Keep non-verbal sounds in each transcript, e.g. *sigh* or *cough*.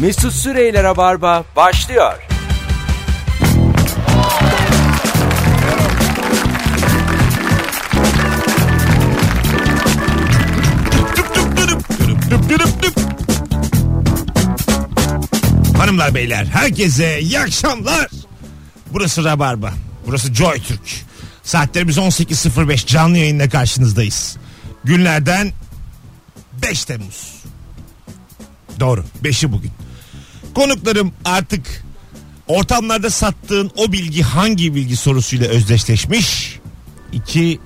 Mesut Süreyler'e barba başlıyor. Hanımlar beyler herkese iyi akşamlar. Burası Rabarba. Burası Joy Türk. Saatlerimiz 18.05 canlı yayında karşınızdayız. Günlerden 5 Temmuz. Doğru 5'i bugün. Konuklarım artık ortamlarda sattığın o bilgi hangi bilgi sorusuyla özdeşleşmiş? İki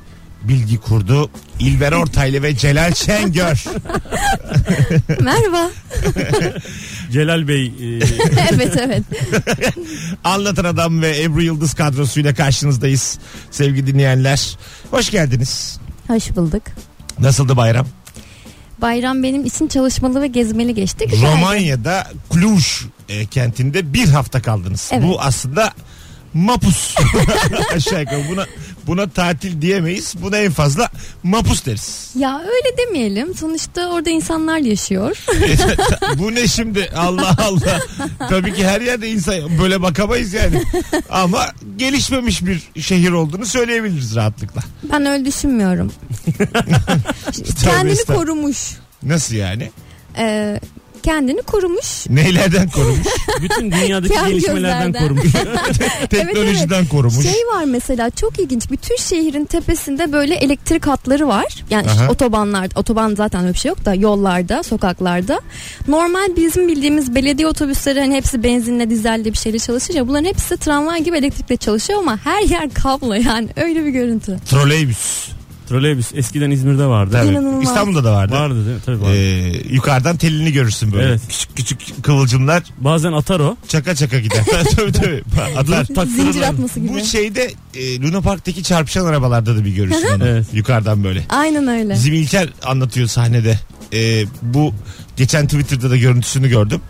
bilgi kurdu İlber Ortaylı ve Celal Şengör. Merhaba. *laughs* *laughs* Celal Bey e, evet evet. *laughs* Anlatan Adam ve Ebru Yıldız kadrosuyla karşınızdayız sevgili dinleyenler. Hoş geldiniz. Hoş bulduk. Nasıldı bayram? Bayram benim için çalışmalı ve gezmeli geçti. Güzeldi. Romanya'da Cluj e, kentinde bir hafta kaldınız. Evet. Bu aslında mapus. *laughs* Aşağı yukarı buna, buna tatil diyemeyiz. Buna en fazla mapus deriz. Ya öyle demeyelim. Sonuçta orada insanlar yaşıyor. *laughs* Bu ne şimdi Allah Allah. Tabii ki her yerde insan böyle bakamayız yani. Ama gelişmemiş bir şehir olduğunu söyleyebiliriz rahatlıkla. Ben öyle düşünmüyorum. kendini estağfurullah. korumuş. Nasıl yani? Ee, kendini korumuş. Neylerden korumuş? bütün dünyadaki Kendi gelişmelerden gözlerden. korumuş. *laughs* Teknolojiden korumuş. Şey var mesela çok ilginç. Bütün şehrin tepesinde böyle elektrik hatları var. Yani Aha. işte otobanlarda, otoban zaten öyle bir şey yok da yollarda, sokaklarda. Normal bizim bildiğimiz belediye otobüsleri hani hepsi benzinle, dizelle bir şeyle çalışır ya. Bunların hepsi tramvay gibi elektrikle çalışıyor ama her yer kablo yani öyle bir görüntü. Troleybüs. Troleybüs eskiden İzmir'de vardı. Tabii. İnanılmaz. İstanbul'da da vardı. Vardı değil mi? Tabii vardı. Ee, yukarıdan telini görürsün böyle. Evet. Küçük küçük kıvılcımlar Bazen atar o. çaka çaka *laughs* gider. tabii tabii. Atlar. Taktırırlar. Zincir atması gibi. Bu şeyde e, Luna Park'taki çarpışan arabalarda da bir *laughs* görürsün onu. Evet. Yukarıdan böyle. Aynen öyle. Bizim İlker anlatıyor sahnede. E, bu geçen Twitter'da da görüntüsünü gördüm.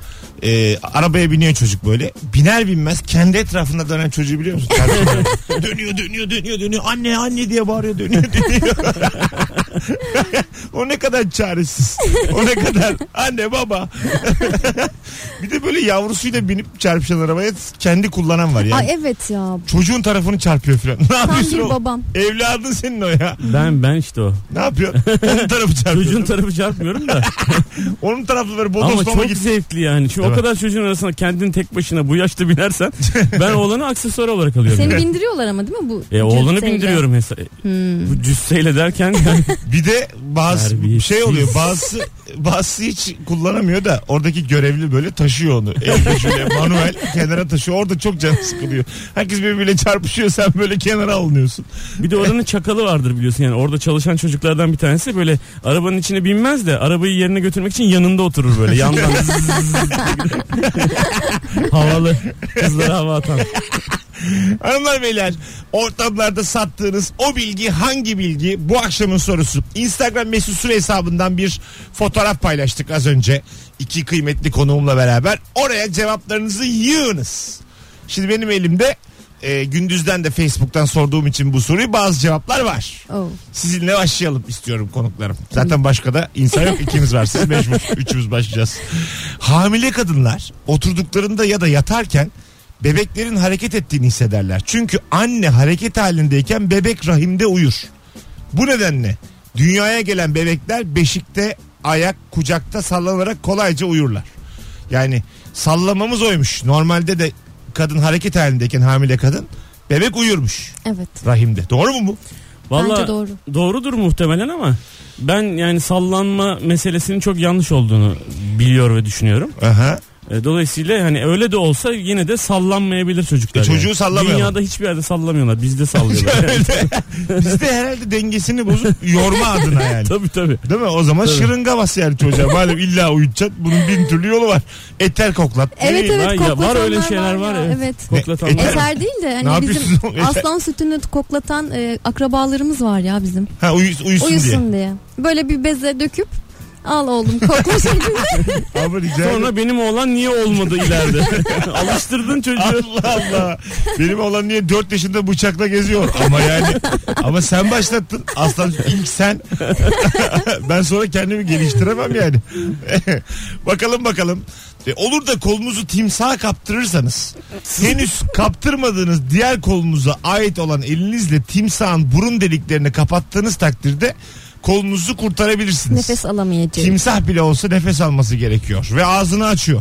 E, arabaya biniyor çocuk böyle. Biner binmez kendi etrafında dönen çocuğu biliyor musun? Çarpışan. dönüyor dönüyor dönüyor dönüyor. Anne anne diye bağırıyor dönüyor dönüyor. *laughs* o ne kadar çaresiz. O ne kadar anne baba. *laughs* bir de böyle yavrusuyla binip çarpışan arabaya kendi kullanan var yani. Ay e- evet ya. Çocuğun tarafını çarpıyor filan. *laughs* Ne Tam yapıyorsun bir o? babam. Evladın senin o ya. Ben ben işte o. Ne yapıyorsun? Onun tarafı çarpıyor. Çocuğun tarafı çarpmıyorum *laughs* da. Onun tarafları Ama bodoslama çok gitti. zevkli yani. Şu Değil o mi? kadar çocuğun arasında kendin tek başına bu yaşta *laughs* binersen ben oğlanı aksesuar olarak alıyorum. Seni yani. bindiriyorlar ama değil mi bu? E, oğlanı cüsseyle? bindiriyorum hesa- e, Hmm. Bu cüsseyle derken yani Bir de bazı Terbiyesiz. şey oluyor. Bazı bazı hiç kullanamıyor da oradaki görevli böyle taşıyor onu. Elde şöyle manuel kenara taşıyor. Orada çok can sıkılıyor. Herkes birbiriyle çarpışıyor. Sen böyle kenara alınıyorsun. bir de oranın çakalı vardır biliyorsun yani orada çalışan çocuklardan bir tanesi böyle arabanın içine binmez de arabayı yerine götürmek için yanında oturur böyle yandan havalı kızlara hava atan. Hanımlar beyler ortamlarda sattığınız o bilgi hangi bilgi bu akşamın sorusu. Instagram mesut süre hesabından bir fotoğraf paylaştık az önce. iki kıymetli konuğumla beraber oraya cevaplarınızı yığınız. Şimdi benim elimde e, gündüzden de Facebook'tan sorduğum için bu soruyu bazı cevaplar var. Oh. Sizinle başlayalım istiyorum konuklarım. Zaten başka da insan yok ikimiz var. Siz mecbur üçümüz başlayacağız. Hamile kadınlar oturduklarında ya da yatarken bebeklerin hareket ettiğini hissederler. Çünkü anne hareket halindeyken bebek rahimde uyur. Bu nedenle dünyaya gelen bebekler beşikte ayak kucakta sallanarak kolayca uyurlar. Yani sallamamız oymuş. Normalde de kadın hareket halindeyken hamile kadın bebek uyurmuş Evet. rahimde. Doğru mu bu? Bence Vallahi doğru. Doğrudur muhtemelen ama ben yani sallanma meselesinin çok yanlış olduğunu biliyor ve düşünüyorum. Aha. E, Dolayısıyla hani öyle de olsa yine de sallanmayabilir çocuklar. E, çocuğu yani. sallamıyor Dünyada hiçbir yerde sallamıyorlar. *laughs* Bizde sallıyorlar. Yani. Bizde herhalde dengesini bozup yorma adına yani. tabii tabii. Değil mi? O zaman Tabii. şırınga bas yani çocuğa. Madem illa uyutacaksın bunun bin türlü yolu var. Eter koklat. Evet Değil, evet var ya, var koklatanlar öyle şeyler var ya. ya. Evet. *laughs* Koklatanlar. Eter- Eser değil de Ne hani bizim yapıyorsun? aslan sütünü koklatan e, akrabalarımız var ya bizim. Ha uyu- uyusun, diye. Uyusun diye. Böyle bir beze döküp Al oğlum kokla şeklinde. Ama rica ederim. Sonra benim oğlan niye olmadı ileride? *laughs* *laughs* Alıştırdın çocuğu. Allah Allah. Benim olan niye 4 yaşında bıçakla geziyor? Ama yani ama sen başlattın. Aslan ilk sen. *laughs* ben sonra kendimi geliştiremem yani. *laughs* bakalım bakalım. E, olur da kolunuzu timsaha kaptırırsanız henüz kaptırmadığınız diğer kolunuza ait olan elinizle timsahın burun deliklerini kapattığınız takdirde kolunuzu kurtarabilirsiniz. *laughs* Nefes alamayacağım. Timsah bile olsa nefes alması gerekiyor ve ağzını açıyor.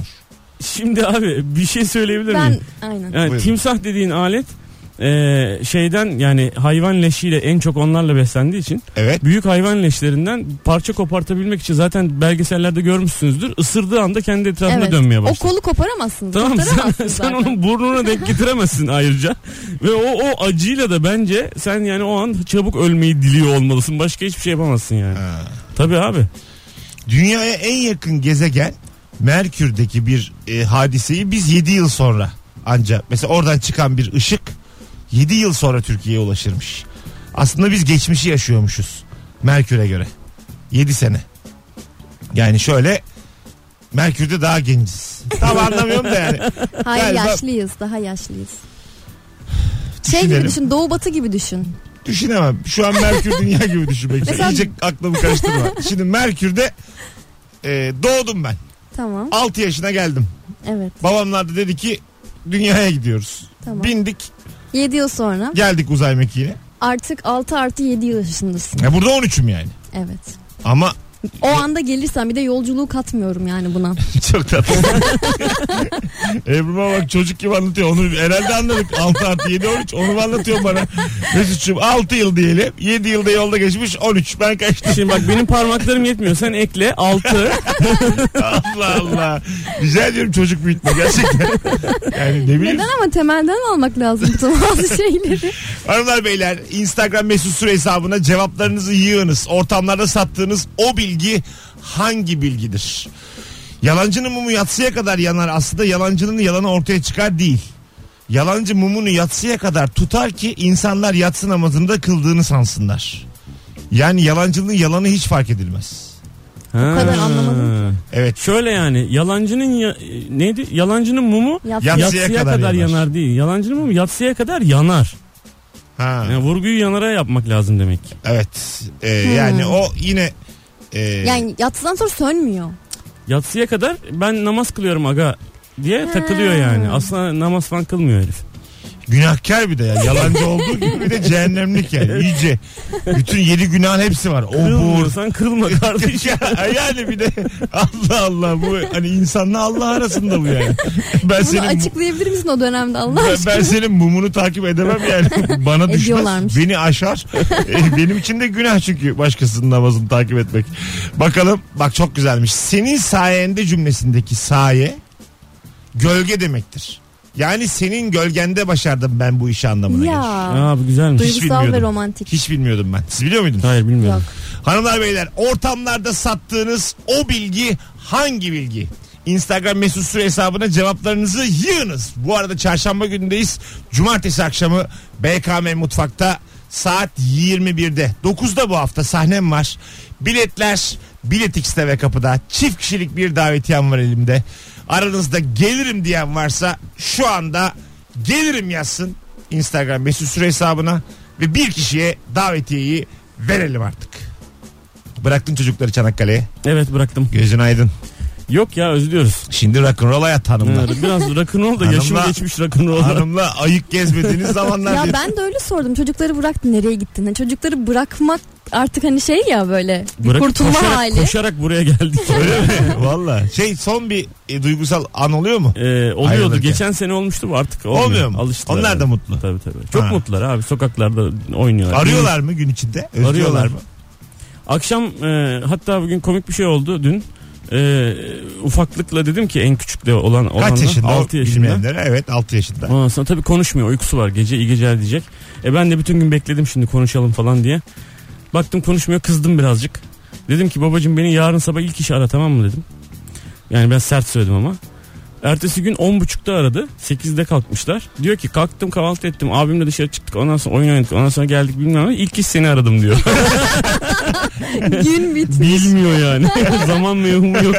Şimdi abi bir şey söyleyebilir miyim? Ben aynen. Yani Buyurun. timsah dediğin alet e, şeyden yani hayvan leşiyle en çok onlarla beslendiği için Evet. büyük hayvan leşlerinden parça kopartabilmek için zaten belgesellerde görmüşsünüzdür. Isırdığı anda kendi etrafında Evet. dönmeye O başlar. kolu koparamazsın. Tamam sen, kurtaramazsın sen zaten. onun burnuna denk getiremezsin ayrıca. Ve o, o acıyla da bence sen yani o an çabuk ölmeyi diliyor olmalısın. Başka hiçbir şey yapamazsın yani. Ha. Tabii abi. Dünyaya en yakın gezegen Merkür'deki bir e, hadiseyi biz 7 yıl sonra ancak mesela oradan çıkan bir ışık 7 yıl sonra Türkiye'ye ulaşırmış. Aslında biz geçmişi yaşıyormuşuz Merkür'e göre. 7 sene. Yani şöyle Merkür'de daha genciz. Tam anlamıyorum da yani. Hayır Galiba- yaşlıyız. Daha yaşlıyız. *laughs* Şey gibi Düşünelim. düşün. Doğu batı gibi düşün. Düşünemem. Şu an Merkür dünya gibi düşünmek istiyorum. Mesela- İyice aklımı karıştırma. Şimdi Merkür'de e, doğdum ben. Tamam. 6 yaşına geldim. Evet. Babamlar da dedi ki dünyaya gidiyoruz. Tamam. Bindik 7 yıl sonra geldik uzay mekiğine. artık 6 artı 7 yaşındasın. Ya burada 13'üm yani. Evet. Ama *laughs* O anda gelirsen bir de yolculuğu katmıyorum yani buna. çok tatlı. Ebru'ma bak çocuk gibi anlatıyor. Onu herhalde anladık. 6 artı 7 13. Onu mu anlatıyor bana? Mesut'cum 6 yıl diyelim. 7 yılda yolda geçmiş 13. Ben kaçtım. *laughs* Şimdi bak benim parmaklarım yetmiyor. Sen ekle 6. Allah Allah. Güzel diyorum çocuk büyütme gerçekten. Yani ne bileyim. Neden ama temelden almak lazım bu tür bazı *laughs* şeyleri. Hanımlar beyler Instagram mesut süre hesabına cevaplarınızı yığınız. Ortamlarda sattığınız o bilgi hangi bilgidir? Yalancının mumu yatsıya kadar yanar aslında yalancının yalanı ortaya çıkar değil. Yalancı mumunu yatsıya kadar tutar ki insanlar yatsı namazında kıldığını sansınlar. Yani yalancının yalanı hiç fark edilmez. O kadar anlamadım Evet Şöyle yani yalancının ya- neydi? Yalancının mumu Yap. Yap. Yatsıya yatsıya, kadar kadar, yanar. yanar. değil. Yalancının mumu yatsıya kadar yanar. ha, Yani vurguyu yanara yapmak lazım demek. evet Ee, yani o yine e, Yani yatsıdan sonra sönmüyor. Yatsıya kadar ben namaz kılıyorum aga diye Ha. takılıyor yani. Aslında namaz falan kılmıyor herif. Günahkar bir de ya. Yalancı olduğu gibi bir de cehennemlik yani. İyice. Bütün yedi günahın hepsi var. Obur. *laughs* Kırılmıyorsan kırılma kardeşim. Ya *laughs* yani bir de Allah Allah bu hani insanla Allah arasında bu yani. Ben Bunu senin açıklayabilir misin o dönemde Allah ben, aşkına? ben senin mumunu takip edemem *laughs* yani. Bana düşmez. Ediyorlarmış. Beni aşar. E, Benim için de günah çünkü başkasının namazını takip etmek. Bakalım. Bak çok güzelmiş. Senin sayende cümlesindeki saye gölge demektir. Yani senin gölgende başardım ben bu işi anlamına gelir. Ya. Abi güzelmiş. Hiç Duygusal ve bilmiyordum. romantik. Hiç bilmiyordum ben. Siz biliyor muydunuz? Hayır bilmiyorum. Yok. Hanımlar beyler ortamlarda sattığınız o bilgi hangi bilgi? Instagram mesut süre hesabına cevaplarınızı yığınız. Bu arada çarşamba günündeyiz. Cumartesi akşamı BKM Mutfak'ta saat 21'de. 9'da bu hafta sahnem var. Biletler Bilet X'te ve kapıda. Çift kişilik bir davetiyem var elimde. Aranızda gelirim diyen varsa şu anda gelirim yazsın. Instagram mesut süre hesabına ve bir kişiye davetiyeyi verelim artık. Bıraktın çocukları Çanakkale'ye. Evet bıraktım. Gözün aydın. Yok ya özlüyoruz. Şimdi rock'n'roll hayat hanımla. Evet, Biraz rock'n'roll da yaşım Hanımlar- geçmiş rock'n'roll'a. hanımla ayık gezmediğiniz zamanlar. Ya diye. ben de öyle sordum. Çocukları bıraktın nereye gittin? Hani çocukları bırakmak artık hani şey ya böyle bir Bırak- kurtulma koşarak, hali. Koşarak buraya geldik. Öyle mi? Valla. Şey son bir e, duygusal an oluyor mu? Ee, oluyordu. Ayrılırken. Geçen sene olmuştu bu artık olmuyor. Olmuyor mu? Alıştılar. Onlar abi. da mutlu. Tabii tabii. Çok Ha. mutlular abi. Sokaklarda oynuyorlar. Arıyorlar mı gün içinde? Özlüyorlar Arıyorlar. mı? Akşam e, hatta bugün komik bir şey oldu dün. E, ufaklıkla dedim ki en küçükle olan olanla Kaç yaşında? 6 O yaşında. bilmeyenlere. Evet 6 *laughs* yaşında. Ondan sonra tabii konuşmuyor. Uykusu var. Gece iyi geceler diyecek. E ben de bütün gün bekledim şimdi konuşalım falan diye. Baktım konuşmuyor. Kızdım birazcık. Dedim ki babacığım beni yarın sabah ilk işe ara tamam mı dedim. Yani ben sert söyledim ama. Ertesi gün 10.30'da aradı. 8'de kalkmışlar. Diyor ki kalktım kahvaltı ettim. Abimle dışarı çıktık. Ondan sonra oyun oynadık. Ondan sonra geldik bilmem ne. İlk iş seni *laughs* aradım diyor. *laughs* Gün bitmiş. *laughs* Bilmiyor yani. Zaman mevhumu yok.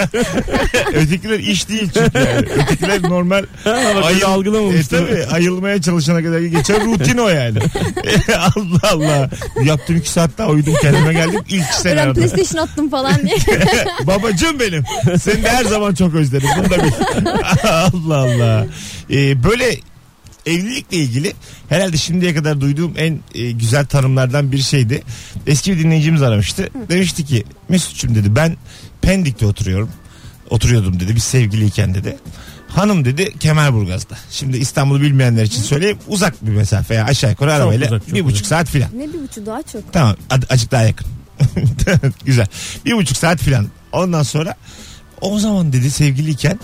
Ötekiler iş değil çünkü yani. Ötekiler normal Hayır E algılamamış. tabii ayılmaya çalışana kadar geçen rutin o *laughs* yani. *laughs* Allah Allah. Yaptığım iki saat daha uyudum kendime geldim. İlk sen Ulan aradın. PlayStation attım falan diye. *laughs* Babacım benim. Seni de her zaman çok özledim. Bunu da bil. *laughs* Allah Allah. Ee, böyle evlilikle ilgili herhalde şimdiye kadar duyduğum en e, güzel tanımlardan bir şeydi. Eski bir dinleyicimiz aramıştı. Demişti ki Mesut'cum dedi ben Pendik'te oturuyorum. Oturuyordum dedi biz sevgiliyken dedi. Hanım dedi Kemerburgaz'da. Şimdi İstanbul'u bilmeyenler için söyleyeyim uzak bir mesafe ya aşağı yukarı arabayla uzak, çok bir buçuk uzak. saat filan. *laughs* ne bir buçu daha çok. Tamam ad- azıcık daha yakın. *laughs* Güzel. Bir buçuk saat filan. Ondan sonra o zaman dedi sevgiliyken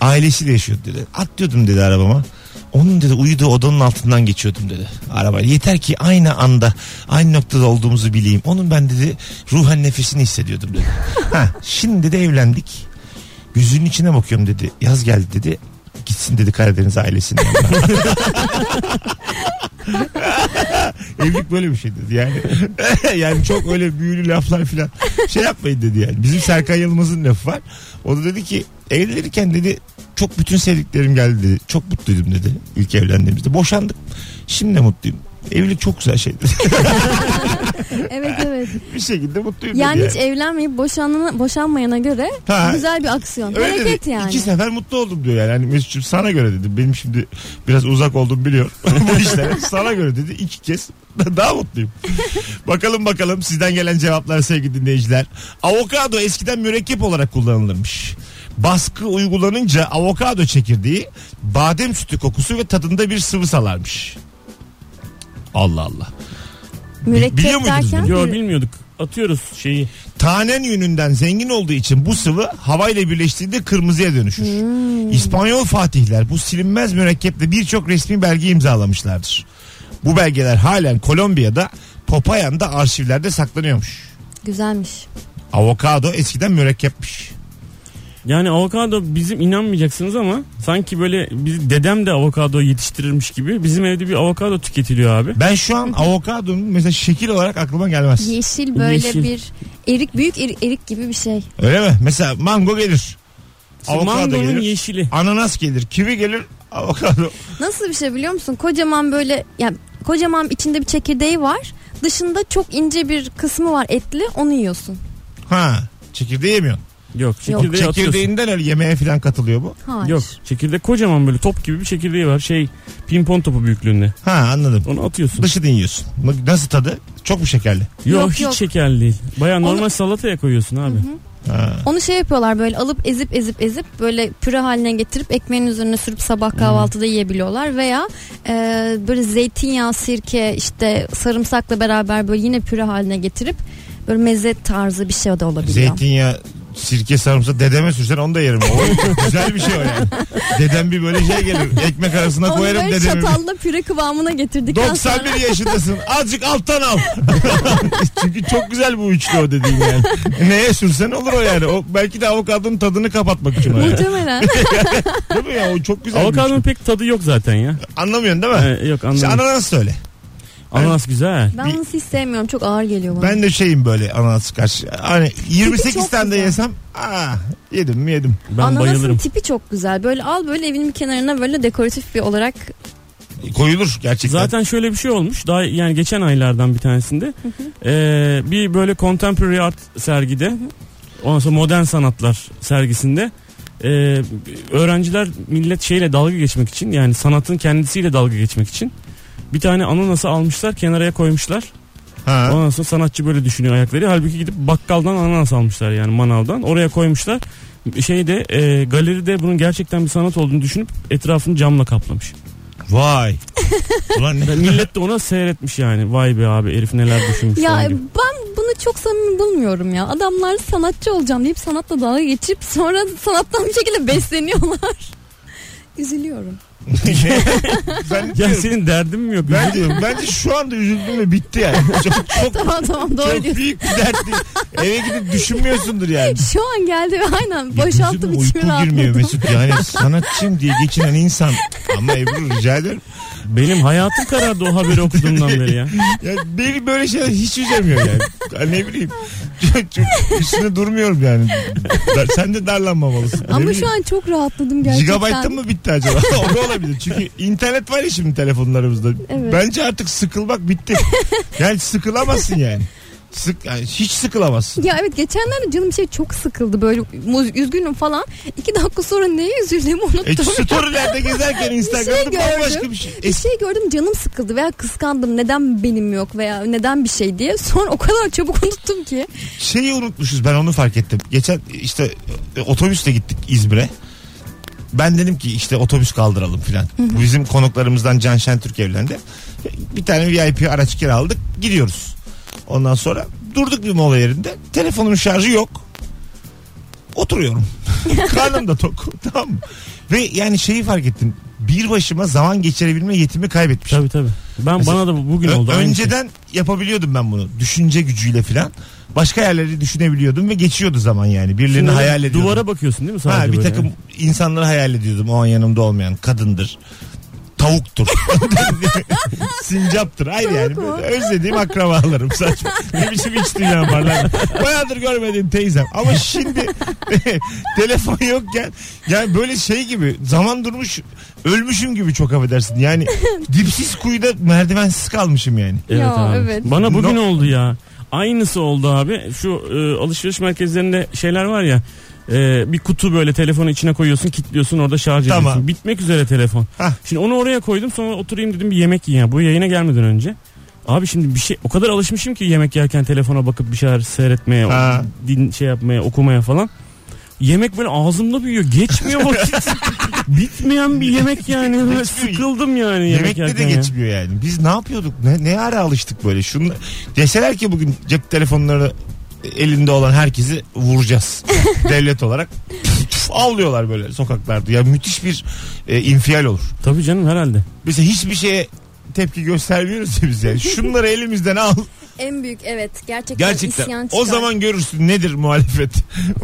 ailesiyle yaşıyordu dedi. Atlıyordum dedi arabama. Onun dedi uyuduğu odanın altından geçiyordum dedi arabayla. Yeter ki aynı anda aynı noktada olduğumuzu bileyim. Onun ben dedi ruhen nefesini hissediyordum dedi. ha, şimdi de evlendik. Gözünün içine bakıyorum dedi. Yaz geldi dedi. Gitsin dedi Karadeniz ailesinin yanına. *laughs* Evlilik böyle bir şey dedi yani. *laughs* yani çok öyle büyülü laflar filan şey yapmayın dedi yani. Bizim Serkan Yılmaz'ın lafı var. O da dedi ki evlenirken dedi çok bütün sevdiklerim geldi dedi. Çok mutluydum dedi ilk evlendiğimizde. Boşandık. Şimdi de mutluyum. Evlilik çok güzel şey dedi. *laughs* *laughs* Evet evet. bir şekilde mutluyum dedi. Yani hiç evlenmeyip boşanana, boşanmayana göre Ha. güzel bir aksiyon. Öyle Hareket dedi. yani. İki sefer mutlu oldum diyor yani. Hani Mesut'cum sana göre dedi. Benim şimdi biraz uzak olduğumu biliyorum *laughs* bu işlere. Sana göre dedi. iki kez *laughs* daha mutluyum. bakalım bakalım sizden gelen cevaplar sevgili dinleyiciler. Avokado eskiden mürekkep olarak kullanılırmış. Baskı uygulanınca avokado çekirdeği badem sütü kokusu ve tadında bir sıvı salarmış. Allah Allah. biliyor Mürekkep muydunuz derken. Yo bilmiyorduk. Atıyoruz şeyi. Tanen yönünden zengin olduğu için bu sıvı havayla birleştiğinde kırmızıya dönüşür. İspanyol fatihler bu silinmez mürekkeple birçok resmi belge imzalamışlardır. Bu belgeler halen Kolombiya'da Popayan'da arşivlerde saklanıyormuş. Güzelmiş. Avokado eskiden mürekkepmiş. Yani avokado bizim inanmayacaksınız ama sanki böyle biz dedem de avokado yetiştirirmiş gibi bizim evde bir avokado tüketiliyor abi. Ben şu an avokadonun mesela şekil olarak aklıma gelmez. Yeşil böyle Yeşil. bir erik büyük eri- erik gibi bir şey. Öyle mi? Mesela mango gelir. Avokado Mangonun gelir. yeşili. Ananas gelir. Kivi gelir. Avokado. Nasıl bir şey biliyor musun? Kocaman böyle yani kocaman içinde bir çekirdeği var. Dışında çok ince bir kısmı var etli onu yiyorsun. Ha. Çekirdeği yemiyorsun. Yok çekirdeği atıyorsun. Çekirdeğinden öyle yemeğe falan katılıyor bu. Hayır. Yok çekirdek kocaman böyle top gibi bir çekirdeği var. Şey pimpon topu büyüklüğünde. Ha anladım. Onu atıyorsun. Dışını yiyorsun. Nasıl tadı? Çok mu şekerli? yok, Yok, hiç yok. şekerli değil. Baya normal Onu- salataya koyuyorsun abi. Ha. Onu şey yapıyorlar böyle alıp ezip ezip ezip böyle püre haline getirip ekmeğin üzerine sürüp sabah Hmm. kahvaltıda yiyebiliyorlar veya e, böyle zeytinyağı, sirke işte sarımsakla beraber böyle yine püre haline getirip böyle meze tarzı bir şey de olabiliyor. Zeytinyağı, sirke, sarımsak dedeme sürsen onu da yerim. *laughs* O güzel bir şey o yani. Dedem bir böyle şey gelir. Ekmek arasına Onu koyarım böyle dedemi. çatalla püre kıvamına getirdikten sonra 91 yaşındasın. Azıcık alttan *laughs* al. Çünkü çok güzel bu üçlü o dediğin yani. Neye sürsen olur o yani. O belki de avokadonun tadını kapatmak için o yani. *laughs* muhtemelen Değil mi ya? O çok güzel bir Avokadonun üçlü. pek tadı yok *laughs* zaten ya. Anlamıyorsun değil mi? Ee, yok İşte anlamadım. ananas söyle. Ananas güzel. ben onu hiç sevmiyorum çok ağır geliyor bana. Ben de şeyim böyle ananas karşı. Hani 28 çok tane de güzel. yesem aa, yedim mi yedim. Ben Ananasın bayılırım. tipi çok güzel. Böyle al böyle evinin bir kenarına böyle dekoratif bir olarak Koyulur gerçekten. Zaten şöyle bir şey olmuş. Daha yani geçen aylardan bir tanesinde eee, bir böyle contemporary art sergide ondan sonra modern sanatlar sergisinde eee, öğrenciler millet şeyle dalga geçmek için yani sanatın kendisiyle dalga geçmek için bir tane ananası almışlar kenaraya koymuşlar. Ha. Ondan sonra sanatçı böyle düşünüyor ayakları. Halbuki gidip bakkaldan ananas almışlar yani manavdan. Oraya koymuşlar. Şeyde eee galeride bunun gerçekten bir sanat olduğunu düşünüp etrafını camla kaplamış. *laughs* Vay. Ulan ne? Ya Millet de ona seyretmiş yani. Vay be abi herif neler düşünmüş. Ya falan gibi. ben bunu çok samimi bulmuyorum ya. Adamlar sanatçı olacağım deyip sanatla dalga geçip sonra sanattan bir şekilde besleniyorlar. *laughs* Üzülüyorum. *laughs* ben Ya diyorum, senin derdin mi yok? ben diyorum, bence şu anda üzüldüm ve bitti yani. Çok, çok, tamam tamam *laughs* doğru çok diyorsun. büyük bir dert değil. Eve gidip düşünmüyorsundur *laughs* yani. Şu an geldi ve aynen Ya boşalttım gözüme içimi Uyku girmiyor rahatladım. Mesut yani sanatçıyım diye geçinen insan. Ama Ebru rica ederim. Benim hayatım karardı o haberi okuduğumdan beri *laughs* ya. Ya beni böyle şeyler hiç üzemiyor yani. Ya ne bileyim. Çok, çok üstüne durmuyorum yani. Dar- Sen de darlanmamalısın. Ne Ama bileyim. şu an çok rahatladım gerçekten. Gigabyte'tan mı bitti acaba? *laughs* o da olabilir. Çünkü internet var ya şimdi telefonlarımızda. Evet. Bence artık sıkılmak *laughs* bitti. Yani sıkılamazsın yani. Sık, yani hiç sıkılamazsın. Ya evet geçenlerde canım bir şey çok sıkıldı böyle muz- üzgünüm falan. İki dakika sonra neye üzüldüğümü E, unuttum. storylerde *laughs* gezerken Instagram'da şey gördüm. bambaşka bir şey. bir şey gördüm canım sıkıldı veya kıskandım neden benim yok veya neden bir şey diye. Sonra o kadar çabuk *laughs* unuttum ki. şeyi unutmuşuz ben onu fark ettim. Geçen işte e, otobüsle gittik İzmir'e. Ben dedim ki işte otobüs kaldıralım filan. Bu Bizim konuklarımızdan Can Şentürk evlendi. Bir tane VIP araç kiraladık gidiyoruz. Ondan sonra durduk bir mola yerinde. Telefonumun şarjı yok. Oturuyorum. *laughs* Karnım da tok. Tamam mı? Ve yani şeyi fark ettim. Bir başıma zaman geçirebilme yetimi kaybetmişim. Tabii tabii. Ben Mesela- bana da bu- bugün Ö- oldu. aynı şey. önceden yapabiliyordum ben bunu. Düşünce gücüyle filan. Başka yerleri düşünebiliyordum ve geçiyordu zaman yani. Birilerini Şimdi hayal ediyordum. Duvara bakıyorsun değil mi sadece ha, bir böyle? takım insanları hayal ediyordum o an yanımda olmayan. Kadındır. Tavuktur. Sincaptır. Hayır yani. Tavuk mu? Böyle Özlediğim akrabalarım saçma. ne biçim iç dünya var lan. Bayağıdır görmediğim teyzem. Ama şimdi *laughs* telefon yokken yani böyle şey gibi zaman durmuş ölmüşüm gibi çok affedersin. Yani dipsiz kuyuda merdivensiz kalmışım yani. Evet Ya, abi. evet. Bana bugün No- oldu ya. Aynısı oldu abi. Şu e, alışveriş merkezlerinde şeyler var ya. e, bir kutu böyle telefonu içine koyuyorsun, kilitliyorsun, orada şarj Tamam. ediyorsun. Bitmek üzere telefon. Hah. Şimdi onu oraya koydum, sonra oturayım dedim bir yemek yiyeyim. ya. Bu yayına gelmeden önce. Abi şimdi bir şey o kadar alışmışım ki yemek yerken telefona bakıp bir şeyler seyretmeye, o- Ha. din şey yapmaya, okumaya falan. Yemek böyle ağzımda büyüyor. Geçmiyor *laughs* vakit. Bitmeyen bir yemek yani. Geçmiyor. Sıkıldım yani yemek Yemekte de yerken. ya. geçmiyor yani. Biz ne yapıyorduk? Ne, ne ara alıştık böyle? Şunu deseler ki bugün cep telefonları elinde olan herkesi *laughs* vuracağız. Devlet olarak. Avlıyorlar böyle sokaklarda. Ya müthiş bir e, infial olur. Tabii canım herhalde. Mesela hiçbir şeye tepki göstermiyoruz ya biz yani. Şunları elimizden *laughs* al. En büyük evet gerçekten, Gerçekten. isyan O çıkar. zaman *laughs* görürsün nedir muhalefet.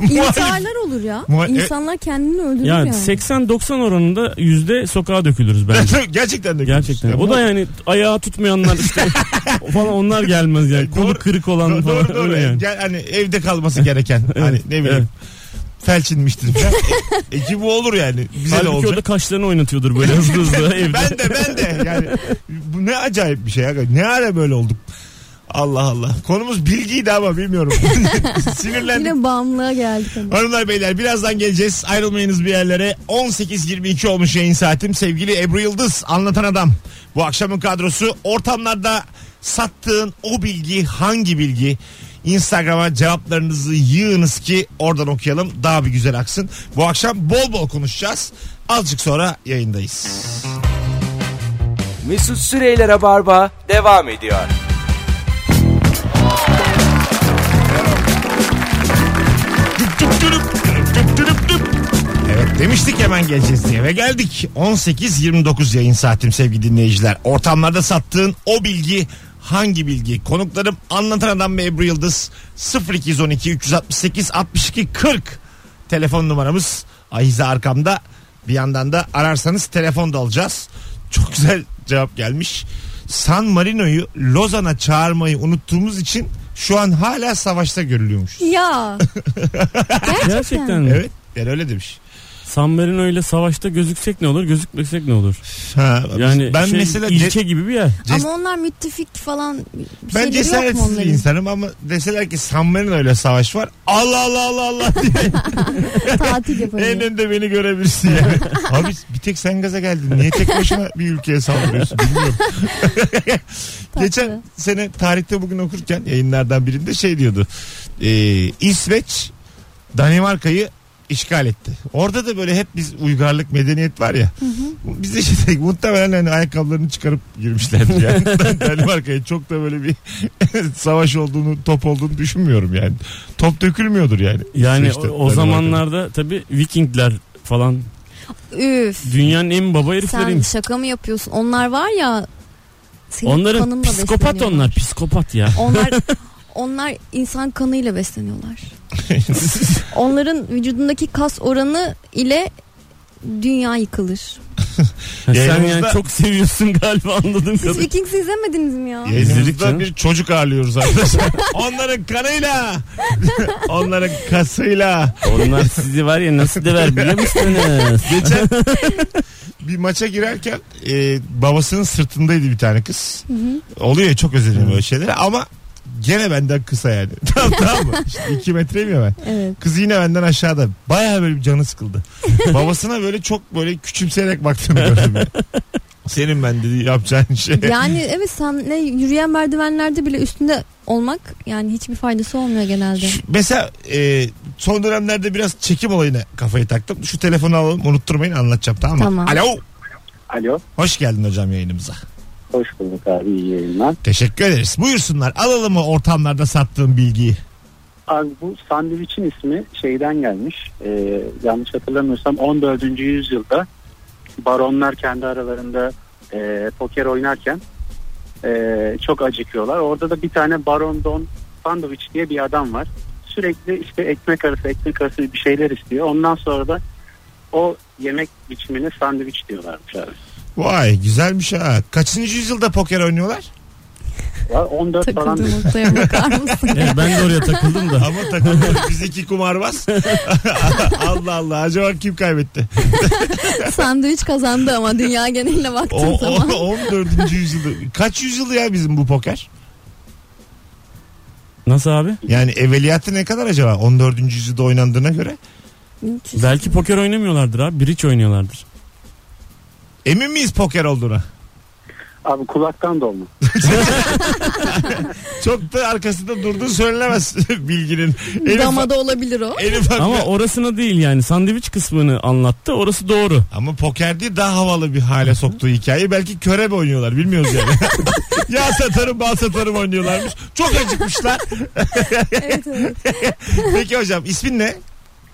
Muhalif- İntiharlar olur ya. Muha- e- İnsanlar kendini öldürür Ya yani. 80-90 oranında yüzde sokağa dökülürüz *laughs* bence. *laughs* Gerçekten de Gerçekten. görürsün. O da Ya yani ayağı tutmayanlar işte *laughs* falan onlar gelmez yani. Kolu Doğru- kırık olan Doğru falan doğru. doğru. öyle yani. Gel, hani evde *laughs* kalması gereken. hani ne bileyim. Evet. felçinmiştir falan. e, ki bu olur yani. Bize de Halbuki olacak. orada kaşlarını oynatıyordur böyle hızlı hızlı *laughs* evde. Ben de ben de yani bu ne acayip bir şey. ya. Ne ara böyle olduk. Allah Allah. Konumuz bilgiydi ama bilmiyorum. *laughs* Sinirlendim. Yine bağımlılığa geldik. *laughs* hani. Hanımlar beyler birazdan geleceğiz. Ayrılmayınız bir yerlere. 18.22 olmuş yayın saatim. Sevgili Ebru Yıldız anlatan adam. Bu akşamın kadrosu ortamlarda sattığın o bilgi hangi bilgi? Instagram'a cevaplarınızı yığınız ki oradan okuyalım. Daha bir güzel aksın. Bu akşam bol bol konuşacağız. Azıcık sonra yayındayız. Mesut Süreyler'e barba devam ediyor. Evet demiştik hemen geleceğiz diye ve geldik. 18.29 yayın saatim sevgili dinleyiciler. Ortamlarda sattığın o bilgi hangi bilgi? Konuklarım anlatan adam ve Ebru Yıldız 0212 368 62 40 telefon numaramız. Ahize arkamda bir yandan da ararsanız telefon da alacağız. Çok güzel cevap gelmiş. San Marino'yu Lozan'a çağırmayı unuttuğumuz için şu an hala savaşta görülüyormuş. Ya. Gerçekten. Gerçekten mi? Evet yani öyle demiş. San Marino ile savaşta gözüksek ne olur gözükmesek ne olur? Ha, Yani ben şey, mesela ilke gibi bir yer. Ces- Ama onlar müttefik falan Şey, bir Ben şeyleri yok mu cesaretsiz bir onların? insanım ama deseler ki San Marino'yla savaş var. Allah Allah Allah Allah diye *laughs* *laughs* Tatil en yapalım. önde beni görebilirsin yani. Abi bir tek sen gaza geldin. Niye tek başına bir ülkeye saldırıyorsun bilmiyorum. Geçen sene tarihte bugün okurken yayınlardan birinde şey diyordu. Ee, İsveç Danimarka'yı işgal etti. Orada da böyle hep biz uygarlık medeniyet var ya. Biz de işte muhtemelen hani ayakkabılarını çıkarıp girmişlerdi yani. Danimarka'ya çok da böyle bir *laughs* savaş olduğunu, top olduğunu düşünmüyorum yani. Top dökülmüyordur yani. Yani İsveç'te, o, o Danimarka'da. zamanlarda tabii Vikingler falan Üf. Dünyanın en baba Sen herifleriymiş. şaka mı yapıyorsun? Onlar var ya senin Onların kanınla psikopat besleniyorlar. onlar psikopat ya. Onlar *laughs* onlar insan kanıyla besleniyorlar. Onların vücudundaki kas oranı ile dünya yıkılır. Ha, Sen Yayınımızda- yani çok seviyorsun galiba anladım Siz kadın. Vikings izlemediniz mi ya? İzledik Yayınımızda canım. bir çocuk ağırlıyoruz arkadaşlar. Onların kanıyla. Onların kasıyla. Onlar sizi var ya nasıl döver biliyor *laughs* musunuz? Geçen bir maça girerken e, babasının sırtındaydı bir tane kız. Oluyor ya çok özeniyorum böyle şeylere ama gene benden kısa yani. *laughs* tamam tamam mı? İşte iki metreyim ya ben. *laughs* Evet. Kız yine benden aşağıda. Baya böyle bir canı sıkıldı. Babasına böyle çok böyle küçümseyerek baktığını gördüm. yani. Senin ben dedi yapacağın şey. Yani evet sen ne yürüyen merdivenlerde bile üstünde olmak yani hiçbir faydası olmuyor genelde. Şu- Mesela e, son dönemlerde biraz çekim olayına kafayı taktım. Şu telefonu alalım unutturmayın anlatacağım tamam mı? Tamam. Alo. Alo. Hoş geldin hocam yayınımıza. Hoş bulduk abi iyi yayınlar. Teşekkür ederiz. Buyursunlar alalım mı ortamlarda sattığım bilgiyi? Abi bu sandviçin ismi şeyden gelmiş. Ee, yanlış hatırlamıyorsam 14. yüzyılda baronlar kendi aralarında e, poker oynarken e, çok acıkıyorlar. Orada da bir tane baron don sandviç diye bir adam var. Sürekli işte ekmek arası ekmek arası bir şeyler istiyor. Ondan sonra da o yemek biçimine sandviç diyorlarmış abi. Vay güzelmiş ha. Kaçıncı yüzyılda poker oynuyorlar? *laughs* Ya 14 falan Takıldığı noktaya bakar mısın? Evet, ben de oraya takıldım da. Ama takılıyor biz iki kumarbaz. *laughs* Allah Allah acaba kim kaybetti? Sandviç kazandı ama dünya geneline O, baktığın o, *laughs* zaman. 14. yüzyılda. Kaç yüzyılda ya bizim bu poker? Nasıl abi? Yani evveliyatı ne kadar acaba 14. yüzyılda oynandığına göre? Belki poker oynamıyorlardır abi. Bridge oynuyorlardır. Emin miyiz poker olduğuna? Abi kulaktan dolma. Çok da arkasında durduğu söylenemez *laughs* bilginin. En ufak- Damada olabilir o. en ufak- Ama orasına değil yani sandviç kısmını anlattı. Orası doğru. Ama poker değil daha havalı bir hale soktuğu hikayeyi. Belki körebe oynuyorlar bilmiyoruz yani. *laughs* ya satarım bal satarım oynuyorlarmış. Çok acıkmışlar. evet, evet. Peki hocam ismin ne?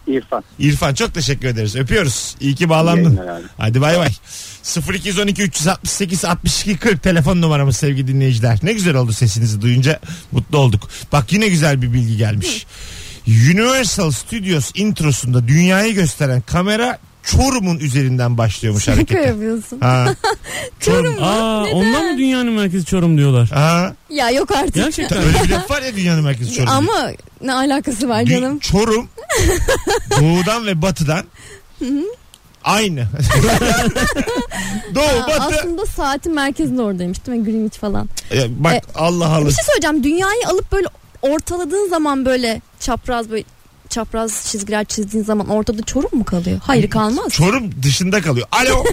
İrfan. İrfan çok teşekkür ederiz. Öpüyoruz. İyi ki iyi bağlandın. yayınlar abi. Hadi bay bay. 0212 368 62 40 telefon numaramız sevgili dinleyiciler. Ne güzel oldu sesinizi duyunca mutlu olduk. Bak yine güzel bir bilgi gelmiş. Universal Studios introsunda dünyayı gösteren kamera Çorum'un üzerinden *laughs* başlıyormuş Şaka harekete. yapıyorsun. Ha, *laughs* Çorum mu? Aa, Neden? ondan mı dünyanın merkezi Çorum diyorlar? ha. Ya yok artık. Ta- Gerçekten. Öyle bir laf var ya dünyanın merkezi Çorum. diye. Ama ne alakası var Dü- canım? *laughs* Çorum doğudan ve batıdan *laughs* aynı. Doğu Aa, batı. aslında saatin merkezinde oradaymış değil mi? Greenwich falan. Ya bak E, Allah Allah. Bir şey söyleyeceğim. Dünyayı alıp böyle ortaladığın zaman böyle çapraz böyle çapraz çizgiler çizdiğin zaman ortada çorum mu kalıyor? Hayır kalmaz. Çorum dışında kalıyor. *laughs* Alo.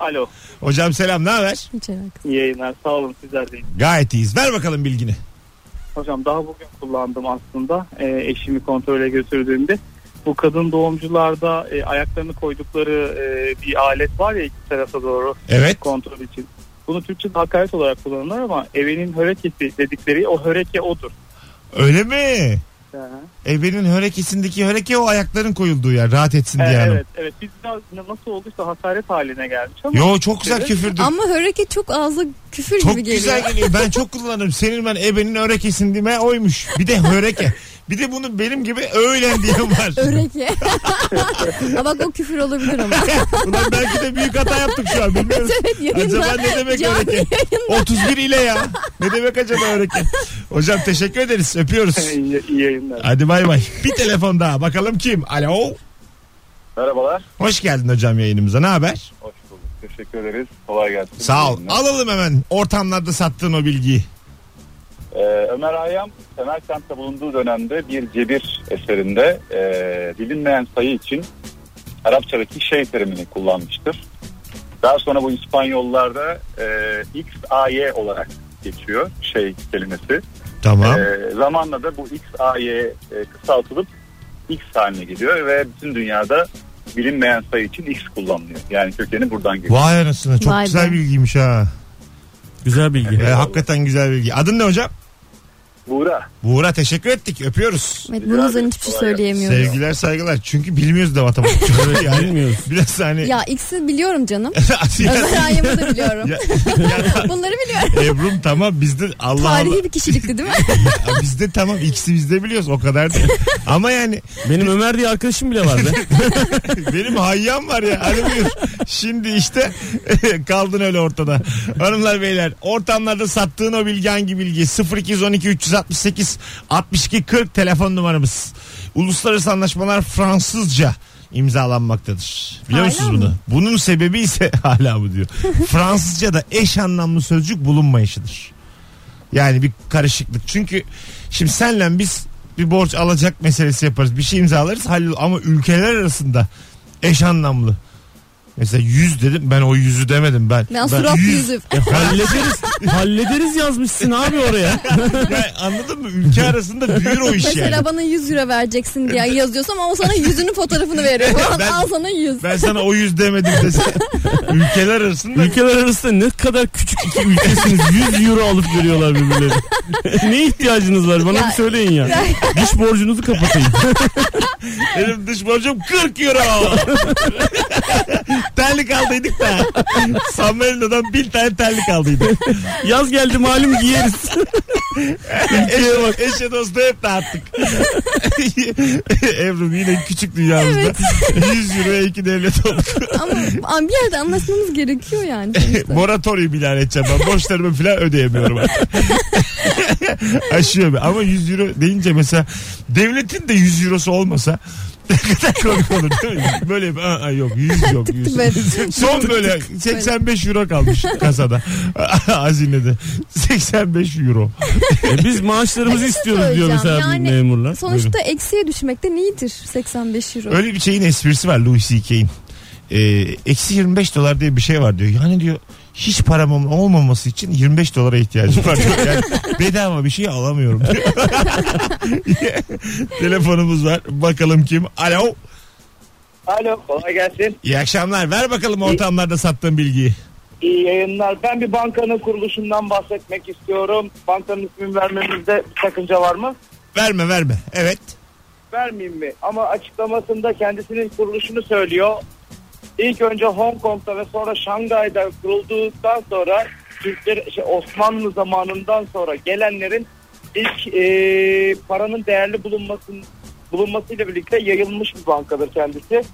Alo. Hocam selam ne haber? Hiç alakası. İyi yayınlar. Sağ olun sizler de. Gayet iyiyiz. Ver bakalım bilgini. Hocam daha bugün kullandım aslında. Ee, eşimi kontrole götürdüğümde. Bu kadın doğumcularda e, ayaklarını koydukları e, bir alet var ya iki tarafa doğru Evet. kontrol için. Bunu Türkçe'de hakaret olarak kullanırlar ama evenin hörekesi dedikleri o höreke odur. Öyle mi? E, Ebenin hörekesindeki höreke o ayakların koyulduğu yer. Rahat etsin Ee, diye hanım. evet evet biz biraz nasıl olduysa hakaret haline gelmiş ama Yo çok güzel küfürdü. Ama höreke çok ağza küfür Çok gibi geliyor. güzel geliyor. Ben çok kullanırım. Senin ben ebenin hörekesin dime oymuş. Bir de höreke. Bir de bunu benim gibi öğlen diyen var. Öreke. Ha bak o küfür olabilir ama. *laughs* Ulan belki de büyük hata yaptık şu an. Bilmiyoruz. *laughs* evet yayında. Acaba ne demek Canlı höreke? 31 ile ya. Ne demek acaba höreke? Hocam teşekkür ederiz. Öpüyoruz. *laughs* iyi, iyi yayınlar. Hadi bay bay. Bir telefon daha. Bakalım kim? Alo. Merhabalar. Hoş geldin hocam yayınımıza. Ne haber? Hoş bulduk. Teşekkür ederiz. Kolay gelsin. Sağ ol. Yayınlar. Alalım hemen ortamlarda sattığın o bilgiyi. Ee, Ömer Hayyam Semerkant'ta bulunduğu dönemde bir cebir eserinde ee, bilinmeyen sayı için Arapçadaki şey terimini kullanmıştır. Daha sonra bu İspanyollarda ee, X, A, Y olarak geçiyor şey kelimesi. Tamam. Ee, zamanla da bu X, A, Y e, kısaltılıp X haline geliyor ve bütün dünyada bilinmeyen sayı için X kullanılıyor. Yani kökeni buradan geliyor. Vay anasını. Çok Vay be. güzel bilgiymiş ha. Güzel bilgi. Ee, hakikaten güzel bilgi. Adın ne hocam? Buğra. Buğra teşekkür ettik. Öpüyoruz. Evet, bunun üzerine hiçbir şey söyleyemiyorum. Sevgiler saygılar. Çünkü bilmiyoruz da *laughs* matematik. yani Bilmiyoruz. biraz hani Ya X'i biliyorum canım. Ya- Ömer Hayyam'ı da biliyorum. ya- *laughs* ya- Bunları biliyorum. *laughs* Ebru'm tamam bizde Allah Tarihi *laughs* bir kişilikti değil mi? Allah. Bizde tamam ikisi bizde biliyoruz o *laughs* kadar değil. Ama yani Benim Ömer diye arkadaşım bile var be. benim hayyam var ya. Hadi buyur. Şimdi işte *laughs* kaldın öyle ortada. Hanımlar beyler ortamlarda sattığın o bilgi hangi bilgi? 0212 368 62 40 telefon numaramız. Uluslararası anlaşmalar Fransızca imzalanmaktadır. Biliyor Hala musunuz mı? bunu? Bunun sebebi ise *laughs* hala mı diyor. Fransızca'da eş anlamlı sözcük bulunmayışıdır. Yani bir karışıklık. Çünkü şimdi senle biz bir borç alacak meselesi yaparız. Bir şey imzalarız hallol ama ülkeler arasında eş anlamlı. Mesela yüz dedim ben o yüzü demedim ben. Ben surat yüzüm. E, hallederiz. hallederiz yazmışsın abi oraya. Yani anladın mı? Ülke arasında büyür o iş şey yani. Mesela bana 100 euro vereceksin diye yazıyorsam ama o sana yüzünün fotoğrafını veriyor. *laughs* Ulan Ben- Al sana 100. Ben sana o yüz demedim dese ülkeler arasında Ülkeler arasında ne kadar küçük iki ülkesiniz 100 euro alıp görüyorlar birbirleri. ne ihtiyacınız var bana Ya- bir söyleyin ya. Diş borcunuzu kapatayım. benim dış borcum 40 euro. *laughs* terlik aldıydık da. San Marino'dan bir tane terlik aldıydık. Yaz geldi malum giyeriz. Eşe, eşe dostu hep dağıttık. *laughs* Evrim yine küçük dünyamızda 100 euroya iki devlet *laughs* olduk. ama ama bir yerde anlaşmamız gerekiyor yani. sonuçta. Moratorium ilan edeceğim ben. Borçlarımı falan ödeyemiyorum artık. *laughs* Aşıyor be. Ama 100 euro deyince mesela devletin de 100 eurosu olmasa *laughs* ne kadar komik olur değil mi? Böyle bir, aa, aa, yok 100 yok 100. Evet. Son böyle 85 euro kalmış kasada. *laughs* Hazinede. 85 euro. E, biz maaşlarımızı Ay, bir şey istiyoruz diyor mesela söyleyeceğim. bu Yani memurlar. Sonuçta eksiye düşmek de neyidir 85 euro? Öyle bir şeyin esprisi var Louis C.K.'in. Ee, Eksi 25 dolar diye bir şey var diyor. Yani diyor hiç param olm- olmaması için 25 dolara ihtiyacım var. diyor. Yani bedava bir şey alamıyorum diyor. *laughs* Telefonumuz var. Bakalım kim? Alo. Alo kolay gelsin. İyi akşamlar. Ver bakalım ortamlarda sattığın bilgiyi. İyi yayınlar. Ben bir bankanın kuruluşundan bahsetmek istiyorum. Bankanın ismini vermemizde bir sakınca var mı? Verme verme. Evet. Vermeyeyim mi? Ama açıklamasında kendisinin kuruluşunu söylüyor. İlk önce Hong Kong'da ve sonra Şangay'da kurulduktan sonra Türkler, şey, Osmanlı zamanından sonra gelenlerin ilk e, paranın değerli bulunmasın, bulunmasıyla birlikte yayılmış bir bankadır kendisi.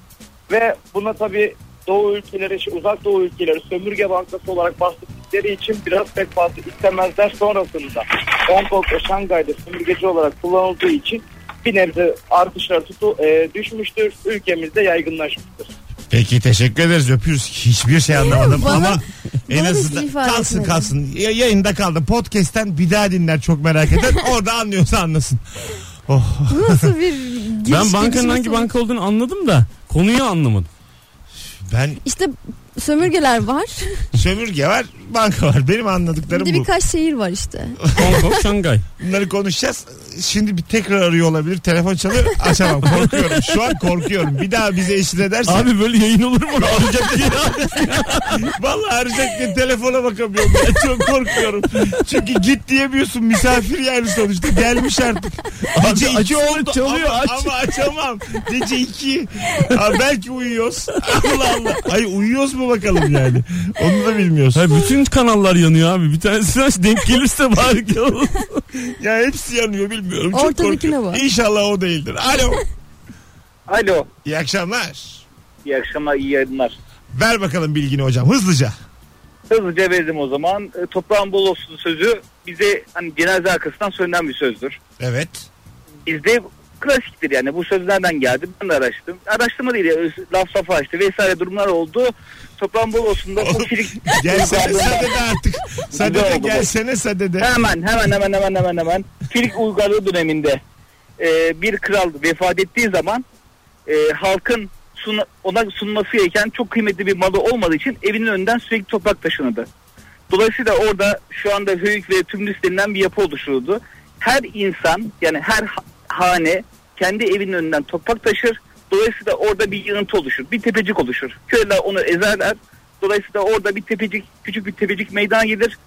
Ve buna tabii Doğu ülkeleri, şey, uzak Doğu ülkeleri sömürge bankası olarak bahsettikleri için biraz pek fazla istemezler sonrasında. Hong Kong ve Şangay'da sömürgeci olarak kullanıldığı için bir nebze artışlar tutu, e, düşmüştür. Ülkemizde yaygınlaşmıştır. Peki teşekkür ederiz öpüyoruz. Hiçbir şey anlamadım Bana- ama en bana azından hiçbir ifade kalsın etmedi. kalsın. Ya- Yayında kaldı. Podcast'ten bir daha dinler çok merak *laughs* eden. Orada anlıyorsa anlasın. Oh. Bu nasıl bir giriş Ben bankanın gelişme hangi sonucu? banka olduğunu anladım da konuyu anlamadım. Ben İşte sömürgeler var. sömürge var, banka var. Benim Bir anladıklarım de bu. birkaç şehir var işte. Hong Kong, Şangay. Bunları konuşacağız. Şimdi bir tekrar arıyor olabilir. Telefon çalıyor. Açamam. Korkuyorum. Şu an korkuyorum. Bir daha bize eşit ederse. Abi böyle yayın olur mu? Alacak diye. Vallahi arayacak diye telefona bakamıyorum. Ben çok korkuyorum. Çünkü git diyemiyorsun. Misafir yani sonuçta. Gelmiş artık. Gece Abi iki açıyor, oldu çalıyor, ama, aç. ama açamam. Gece iki. Ha, belki uyuyoruz. Allah Allah. Ay uyuyoruz mu bakalım yani. Onu da bilmiyoruz. Hayır, bütün kanallar yanıyor abi. Bir tanesi aç denk gelirse bari ki olur. Ya hepsi yanıyor bilmiyorum. Çok Ortadakine korkuyorum. bak. İnşallah o değildir. Alo. Alo. İyi akşamlar. İyi akşamlar, iyi yayınlar. Ver bakalım bilgini hocam hızlıca. Hızlıca verdim o zaman. E, Toprağın bol olsun sözü bize hani cenaze arkasından söylenen bir sözdür. Evet. Bizde klasiktir yani bu söz nereden geldi ben de araştırdım. Araştırma değil yani, laf lafa açtı vesaire durumlar oldu. Toprağın bol olsun da Oğlum, fakirlik- *laughs* Gelsene sadede artık. Sadede Güzel oldu bu. gelsene sadede. Hemen hemen hemen hemen hemen hemen. Filik uygarlığı döneminde e, bir kral vefat ettiği zaman e, halkın sun, ona sunması gereken çok kıymetli bir malı olmadığı için evinin önünden sürekli toprak taşınırdı. Dolayısıyla orada şu anda höyük ve tümlüs denilen bir yapı oluşturuldu. Her insan yani her ha- hane kendi evinin önünden toprak taşır. Dolayısıyla orada bir yığıntı oluşur. Bir tepecik oluşur. Köylüler onu ezerler. Dolayısıyla orada bir tepecik, küçük bir tepecik meydana gelir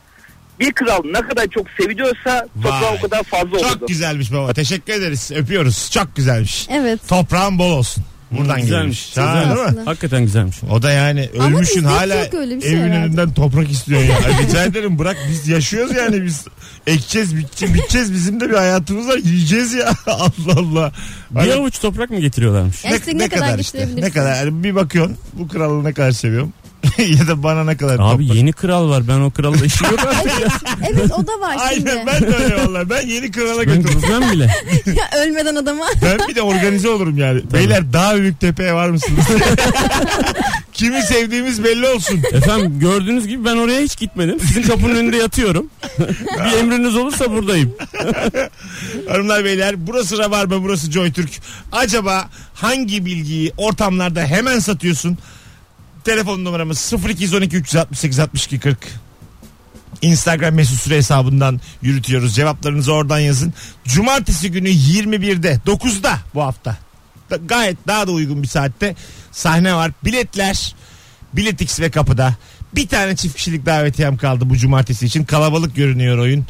bir kral ne kadar çok seviliyorsa toprağı Vay. o kadar fazla olurdu. Çok güzelmiş baba. Teşekkür ederiz. Öpüyoruz. Çok güzelmiş. Evet. Toprağın bol olsun. Buradan Güzelmiş. gelmiş. Ha, güzelmiş. değil mi? Hakikaten güzelmiş. O da yani Ama ölmüşün bizde hala yok öyle bir şey evin herhalde. önünden toprak istiyor ya. Ay, Rica ederim bırak biz yaşıyoruz yani biz ekeceğiz biteceğiz, biteceğiz bizim de bir hayatımız var yiyeceğiz ya *laughs* Allah Allah. Bir avuç toprak mı getiriyorlarmış? Ya işte ne, kadar, getirebilirsin? Ne kadar yani bir bakıyorsun bu kralı ne kadar seviyorum *laughs* ya da bana ne kadar Abi toprak. yeni kral var. Ben o *laughs* kralla işim yok artık ya. Evet o da var şimdi. Aynen ben de öyle vallahi ben yeni krala Ben götürürüm. gitmem bile. Ya *laughs* Ölmeden adama. *laughs* Ben bir de organize olurum yani. Beyler daha büyük tepeye var mısınız? *laughs* Kimi sevdiğimiz belli olsun. Efendim gördüğünüz gibi ben oraya hiç gitmedim. Sizin kapının *laughs* önünde yatıyorum. bir emriniz olursa buradayım. *laughs* Hanımlar beyler burası Rabarba burası JoyTürk. Acaba hangi bilgiyi ortamlarda hemen satıyorsun? Telefon numaramız 0212 368 62 40. Instagram mesut süre hesabından yürütüyoruz. Cevaplarınızı oradan yazın. Cumartesi günü 21'de 9'da bu hafta. Da- gayet daha da uygun bir saatte sahne var. Biletler Biletix ve kapıda. Bir tane çift kişilik davetiyem kaldı bu cumartesi için. Kalabalık görünüyor oyun.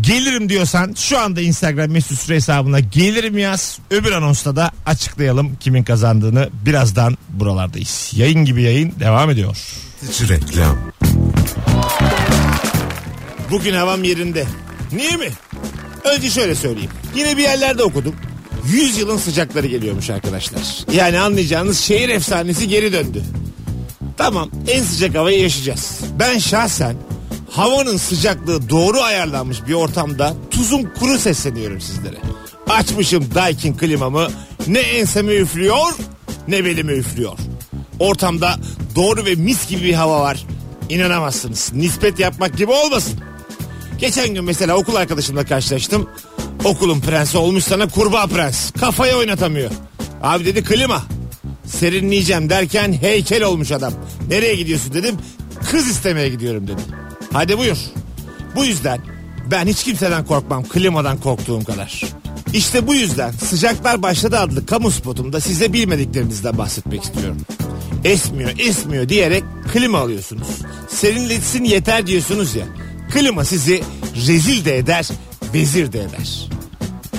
Gelirim diyorsan şu anda Instagram mesut süre hesabına gelirim yaz. Öbür anonsta da açıklayalım kimin kazandığını. Birazdan buralardayız. Yayın gibi yayın devam ediyor. Reklam. Bugün havam yerinde. Niye mi? Önce şöyle söyleyeyim. Yine bir yerlerde okudum. 100 yılın sıcakları geliyormuş arkadaşlar. Yani anlayacağınız şehir efsanesi geri döndü. Tamam en sıcak havayı yaşayacağız. Ben şahsen havanın sıcaklığı doğru ayarlanmış bir ortamda tuzum kuru sesleniyorum sizlere. Açmışım Daikin klimamı ne enseme üflüyor ne belime üflüyor. Ortamda doğru ve mis gibi bir hava var. İnanamazsınız. Nispet yapmak gibi olmasın. Geçen gün mesela okul arkadaşımla karşılaştım. Okulun prensi olmuş sana kurbağa prens. Kafayı oynatamıyor. Abi dedi klima. Serinleyeceğim derken heykel olmuş adam. Nereye gidiyorsun dedim. Kız istemeye gidiyorum dedi. Hadi buyur. Bu yüzden ben hiç kimseden korkmam klimadan korktuğum kadar. İşte bu yüzden Sıcaklar Başladı adlı kamu spotumda size bilmediklerimizden bahsetmek istiyorum esmiyor esmiyor diyerek klima alıyorsunuz. Serinletsin yeter diyorsunuz ya. Klima sizi rezil de eder, vezir de eder.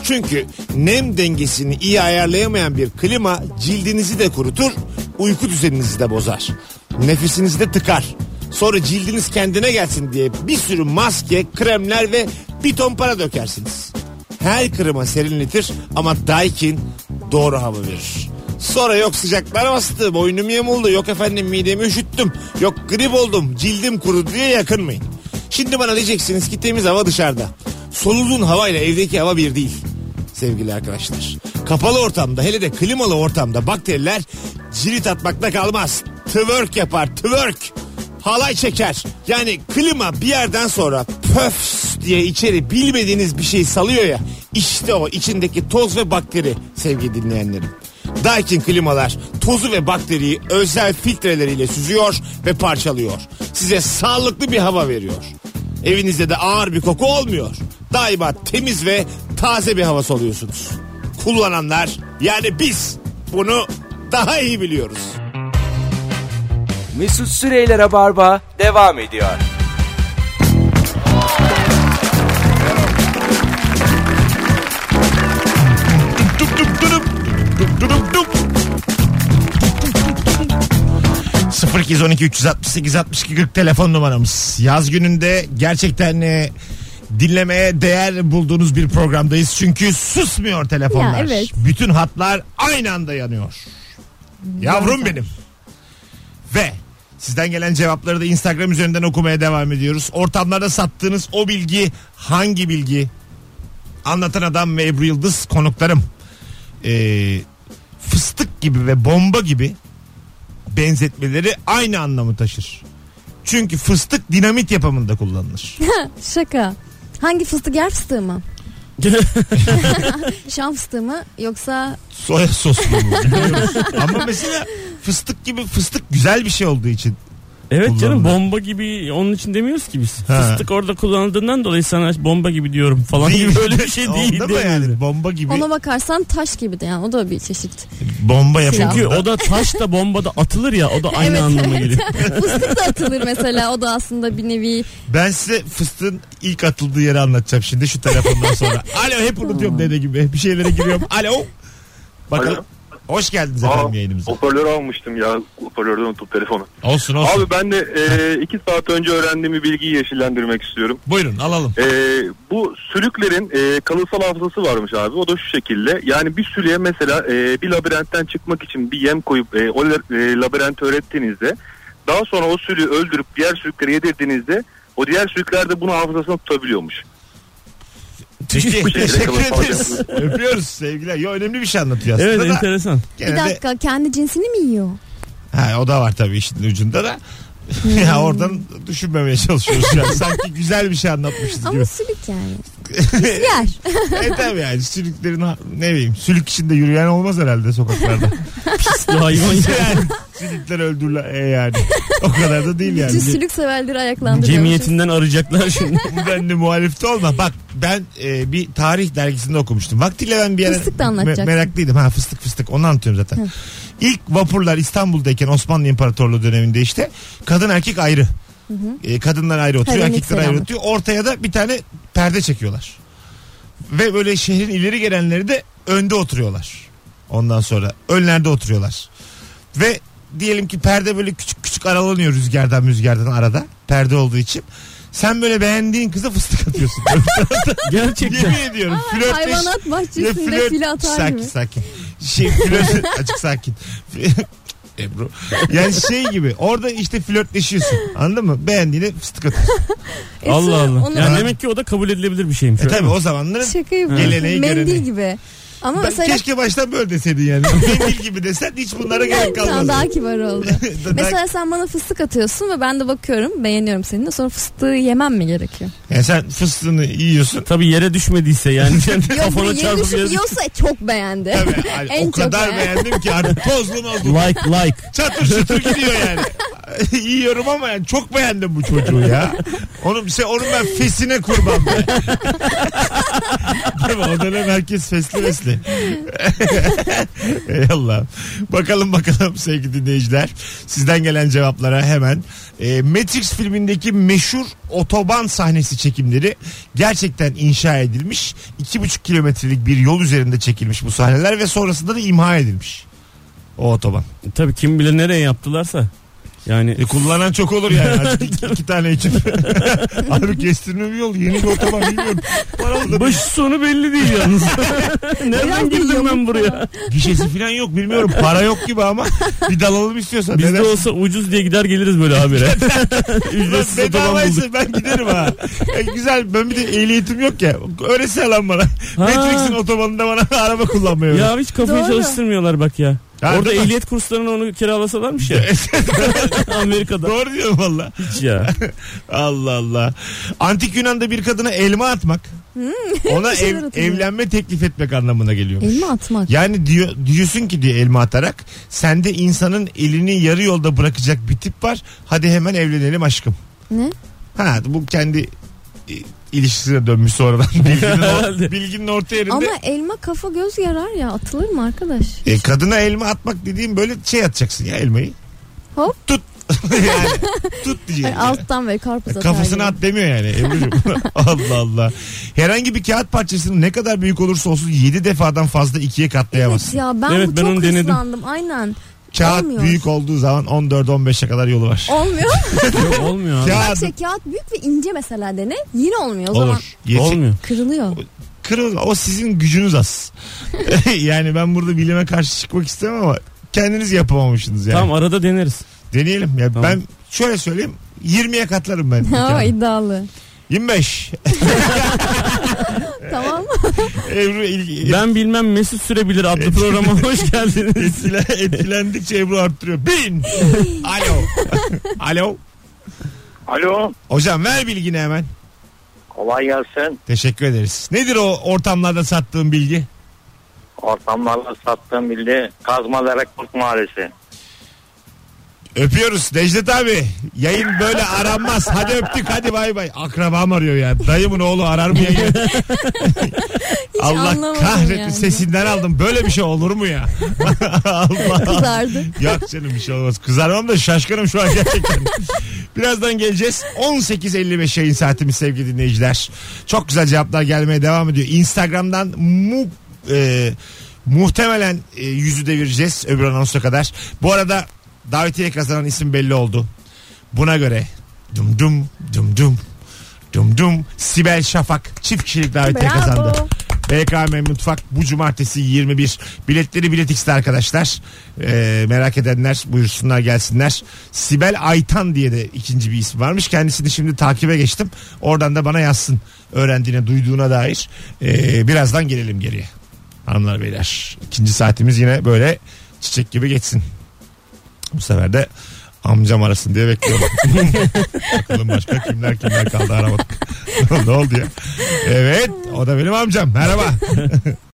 Çünkü nem dengesini iyi ayarlayamayan bir klima cildinizi de kurutur, uyku düzeninizi de bozar. Nefesinizi de tıkar. Sonra cildiniz kendine gelsin diye bir sürü maske, kremler ve bir ton para dökersiniz. Her klima serinletir ama Daikin doğru hava verir. Sonra yok sıcaklar bastı, boynum yamuldu, yok efendim midemi üşüttüm, yok grip oldum, cildim kurudu diye yakınmayın. Şimdi bana diyeceksiniz ki temiz hava dışarıda. Soluduğun havayla evdeki hava bir değil sevgili arkadaşlar. Kapalı ortamda hele de klimalı ortamda bakteriler cirit atmakta kalmaz. Twerk yapar twerk. Halay çeker. Yani klima bir yerden sonra pöfs diye içeri bilmediğiniz bir şey salıyor ya. İşte o içindeki toz ve bakteri sevgili dinleyenlerim. Daikin klimalar tozu ve bakteriyi özel filtreleriyle süzüyor ve parçalıyor. Size sağlıklı bir hava veriyor. Evinizde de ağır bir koku olmuyor. Daima temiz ve taze bir havası oluyorsunuz. Kullananlar yani biz bunu daha iyi biliyoruz. Mesut Süreyler'e barba devam ediyor. Dup dup durup, dup durup dup. 0212 368 62 40 telefon numaramız. Yaz gününde gerçekten e, dinlemeye değer bulduğunuz bir programdayız. Çünkü susmuyor telefonlar. Ya, evet. Bütün hatlar aynı anda yanıyor. Yavrum benim. Ve sizden gelen cevapları da Instagram üzerinden okumaya devam ediyoruz. Ortamlarda sattığınız o bilgi hangi bilgi? Anlatan Adam ve Ebru Yıldız konuklarım. Ee, fıstık gibi ve bomba gibi benzetmeleri aynı anlamı taşır. Çünkü fıstık dinamit yapımında kullanılır. Şaka. Hangi fıstık yer fıstığı mı? Şam fıstığı mı yoksa Soya soslu mu? Bilmiyorum. Ama mesela fıstık gibi fıstık güzel bir şey olduğu için Evet canım Kullanımda. bomba gibi onun için demiyoruz ki biz. Ha. Fıstık orada kullanıldığından dolayı sana bomba gibi diyorum falan gibi öyle bir şey değil. *laughs* Onda mı yani bomba gibi. Ona bakarsan taş gibi de yani o da bir çeşit. Bomba yapıldı. Silah. Çünkü o da taş da bomba da atılır ya o da aynı Evet, anlama evet. geliyor. Fıstık da atılır mesela o da aslında bir nevi Ben size fıstığın ilk atıldığı yeri anlatacağım şimdi şu telefondan sonra. Alo hep unutuyorum dede gibi. Bir şeylere giriyorum. Alo. Bakalım. Alo. Hoş geldiniz Aa, efendim yayınımıza. Hoparlörü almıştım ya. Hoparlörden unutup telefonu. Olsun olsun. Abi ben de e, iki saat önce öğrendiğim bir bilgiyi yeşillendirmek istiyorum. Buyurun alalım. E, bu sülüklerin e, kalıtsal hafızası varmış abi. O da şu şekilde. Yani bir sülüğe mesela e, bir labirentten çıkmak için bir yem koyup e, o la- e, labirenti öğrettiğinizde daha sonra o sülüğü öldürüp diğer sülüklere yedirdiğinizde o diğer sülükler de bunu hafızasına tutabiliyormuş. Peki, Bu şekilde teşekkür kalıtsal ederiz. hafızası. Öpüyoruz sevgiler. Yo önemli bir şey anlatıyor aslında Evet da. enteresan. Gene bir de- dakika kendi cinsini mi yiyor? Ha, o da var tabii işin ucunda da. Hmm. *laughs* ya oradan düşünmemeye çalışıyoruz yani. Sanki güzel bir şey anlatmışız gibi. Ama sülük *laughs* yani. Yer. e tabii yani sülüklerin ha- ne bileyim sülük içinde yürüyen olmaz herhalde *laughs* sokaklarda. Pisli hayvan ya. yani sülükler öldürülen e yani. O kadar da değil yani. Bütün sülük severleri ayaklandırıyormuşuz. Cemiyetinden *laughs* arayacaklar şimdi. Bu denli muhalif de olma. Bak ben e, bir tarih dergisinde okumuştum. Vaktiyle ben bir yere Fıstık da anlatacaksın. meraklıydım. Ha fıstık fıstık onu anlatıyorum zaten. İlk vapurlar İstanbul'dayken Osmanlı İmparatorluğu döneminde işte kadın erkek ayrı. E, kadınlar ayrı oturuyor, Helenik erkekler ayrı selamı. oturuyor. Ortaya da bir tane perde çekiyorlar. Ve böyle şehrin ileri gelenleri de önde oturuyorlar. Ondan sonra önlerde oturuyorlar. Ve diyelim ki perde böyle küçük küçük aralanıyor rüzgardan rüzgardan arada. Perde olduğu için. Sen böyle beğendiğin kıza fıstık atıyorsun. Gerçekten. Yemin ediyorum. Ama flörtleş- Hayvanat ya bahçesinde fil atar sakin gibi. sakin. Şey *laughs* flört açık sakin. *laughs* Ebru. Yani şey gibi orada işte flörtleşiyorsun. Anladın mı? Beğendiğine fıstık atıyorsun. E, Allah sonra Allah. onu- Yani demek ki o da kabul edilebilir bir şeymiş. E öyle tabi mi? o zamanların Şaka yapıyorsun. Geleneği, Mendil göreneği. gibi. Ama Ben mesela keşke baştan böyle deseydin *laughs* yani. Mendil gibi desen hiç bunlara gerek Şu an kalmaz. daha kibar oldu. *laughs* Daha- Mesela sen bana fıstık atıyorsun ve ben de bakıyorum beğeniyorum seni de sonra fıstığı yemem mi gerekiyor? Yani sen fıstığını *laughs* yiyorsun. Tabii yere düşmediyse yani Kendi Yok kafana biri yeni çarpıp düşüp yere düş- yiyorsa çok beğendi. *laughs* Tabii, hani En o çok kadar yani. beğendim ki artık tozlu mazlu. Like like. Çatır çatır gidiyor yani. *laughs* Yiyorum ama yani çok beğendim bu çocuğu ya. Onun, se- onun ben fesine kurban be. Değil mi? O dönem herkes fesli fesli. Ey Allah. Bakalım bakalım sevgili dinleyiciler. Sizden gelen cevaplara hemen. E, Matrix filmindeki meşhur otoban sahnesi çekimleri gerçekten inşa edilmiş. 2,5 kilometrelik bir yol üzerinde çekilmiş bu sahneler ve sonrasında da imha edilmiş. O otoban. Tabii kim bilir nereye yaptılarsa. Yani E kullanan çok olur yani. *laughs* Azıcık iki, iki tane için. Harbi kestirme bir yol. Yeni bir otoban bilmiyorum. Paralı da baş sonu belli değil *laughs* yalnız. *laughs* Nereden Herhangi bir girdim ben yamuk buraya? gişesi falan yok bilmiyorum. Para yok gibi ama bir dalalım istiyorsan. Bizde Neden- olsa ucuz diye gider *laughs* geliriz böyle habire. Ulan *laughs* Ücretsiz otoban bulduk. Bedavaysa ben giderim ha. E, güzel ben bir de ehliyetim yok ya. Öğretsen lan bana. Matrix'in otobanında bana *laughs* araba kullanmayı öğret. Ya hiç kafayı Doğru. çalıştırmıyorlar bak ya. Ha, Orada değil mi? ehliyet kurslarını onu kiralasalarmış ya. *laughs* *laughs* Amerika'da. Doğru diyorum valla. Hiç ya. Allah Allah. Antik Yunan'da bir kadına elma atmak. Ona Hmm. *laughs* Bir şeyler ev- atılıyor. evlenme teklif etmek anlamına geliyormuş. Elma atmak. Yani diyor, diyorsun ki diye elma atarak sende insanın elini yarı yolda bırakacak bir tip var. Hadi hemen evlenelim aşkım. Ne? Ha bu kendi e, ilişkisine dönmüş sonradan. Bilginin, or- Herhalde. bilginin orta yerinde. Ama elma kafa göz yarar ya atılır mı arkadaş? E, kadına elma atmak dediğim böyle şey atacaksın ya elmayı. Hop. Tut. *laughs* yani, tut diyeceksin. Yani alttan böyle karpuz atar Kafasına at gibi. demiyor yani Ebru'cum. *laughs* Allah Allah. Herhangi bir kağıt parçasını ne kadar büyük olursa olsun 7 defadan fazla ikiye katlayamazsın. Ya ben Evet, bu ben çok onu denedim. hızlandım aynen. Kağıt Olmuyor. büyük olduğu zaman 14-15'e kadar yolu var. *laughs* Olmuyor. Yok olmuyor abi. Kağıt Şey, kağıt büyük ve ince mesela dene yine olmuyor o zaman olur. Yeti- Olmuyor. kırılıyor. *laughs* Kırıl, o sizin gücünüz *laughs* az. yani ben burada bilime karşı çıkmak istemem ama kendiniz yapamamışsınız yani. Tamam arada deneriz. Deneyelim. Ya Tamam. ben şöyle söyleyeyim. 20'ye katlarım *laughs* ben. Ha Yani. iddialı. 25. tamam mı? *laughs* Ebru il- Ben bilmem Mesut Sürebilir adlı programa *laughs* hoş geldiniz. etkile- etkilendikçe Ebru arttırıyor. *laughs* Bin. Alo. Alo. Alo. Hocam ver bilgini hemen. Kolay gelsin. Teşekkür ederiz. Nedir o ortamlarda sattığın bilgi? Ortamlarla sattığım bildi. Kazma Derek Kurt Mahallesi. Öpüyoruz Necdet abi. Yayın böyle aranmaz. Hadi öptük hadi bay bay. Akrabam arıyor ya. Dayımın oğlu arar mı yayın? Hiç Allah anlamadım kahretsin yani. sesinden aldım. Böyle bir şey olur mu ya? *laughs* Allah. Kızardı. Yok canım bir şey olmaz. Kızarmam da şaşkınım şu an gerçekten. Birazdan geleceğiz. 18.55 yayın saatimiz sevgili dinleyiciler. Çok güzel cevaplar gelmeye devam ediyor. Instagram'dan mu e, muhtemelen e, yüzü devireceğiz öbür anonsa kadar. Bu arada davetiye kazanan isim belli oldu. Buna göre dum dum dum dum dum dum Sibel Şafak çift kişilik davetiye Bravo. kazandı. BKM Mutfak bu cumartesi 21. Biletleri Bilet X'te arkadaşlar. Ee, merak edenler buyursunlar gelsinler. Sibel Aytan diye de ikinci bir isim varmış. Kendisini şimdi takibe geçtim. Oradan da bana yazsın öğrendiğine duyduğuna dair. Ee, birazdan gelelim geriye. Hanımlar beyler ikinci saatimiz yine böyle çiçek gibi geçsin. Bu sefer de amcam arasın diye bekliyorum. Bakalım başka kimler kimler *laughs* kaldı aramadık. ne oldu ya? Evet o da benim amcam merhaba.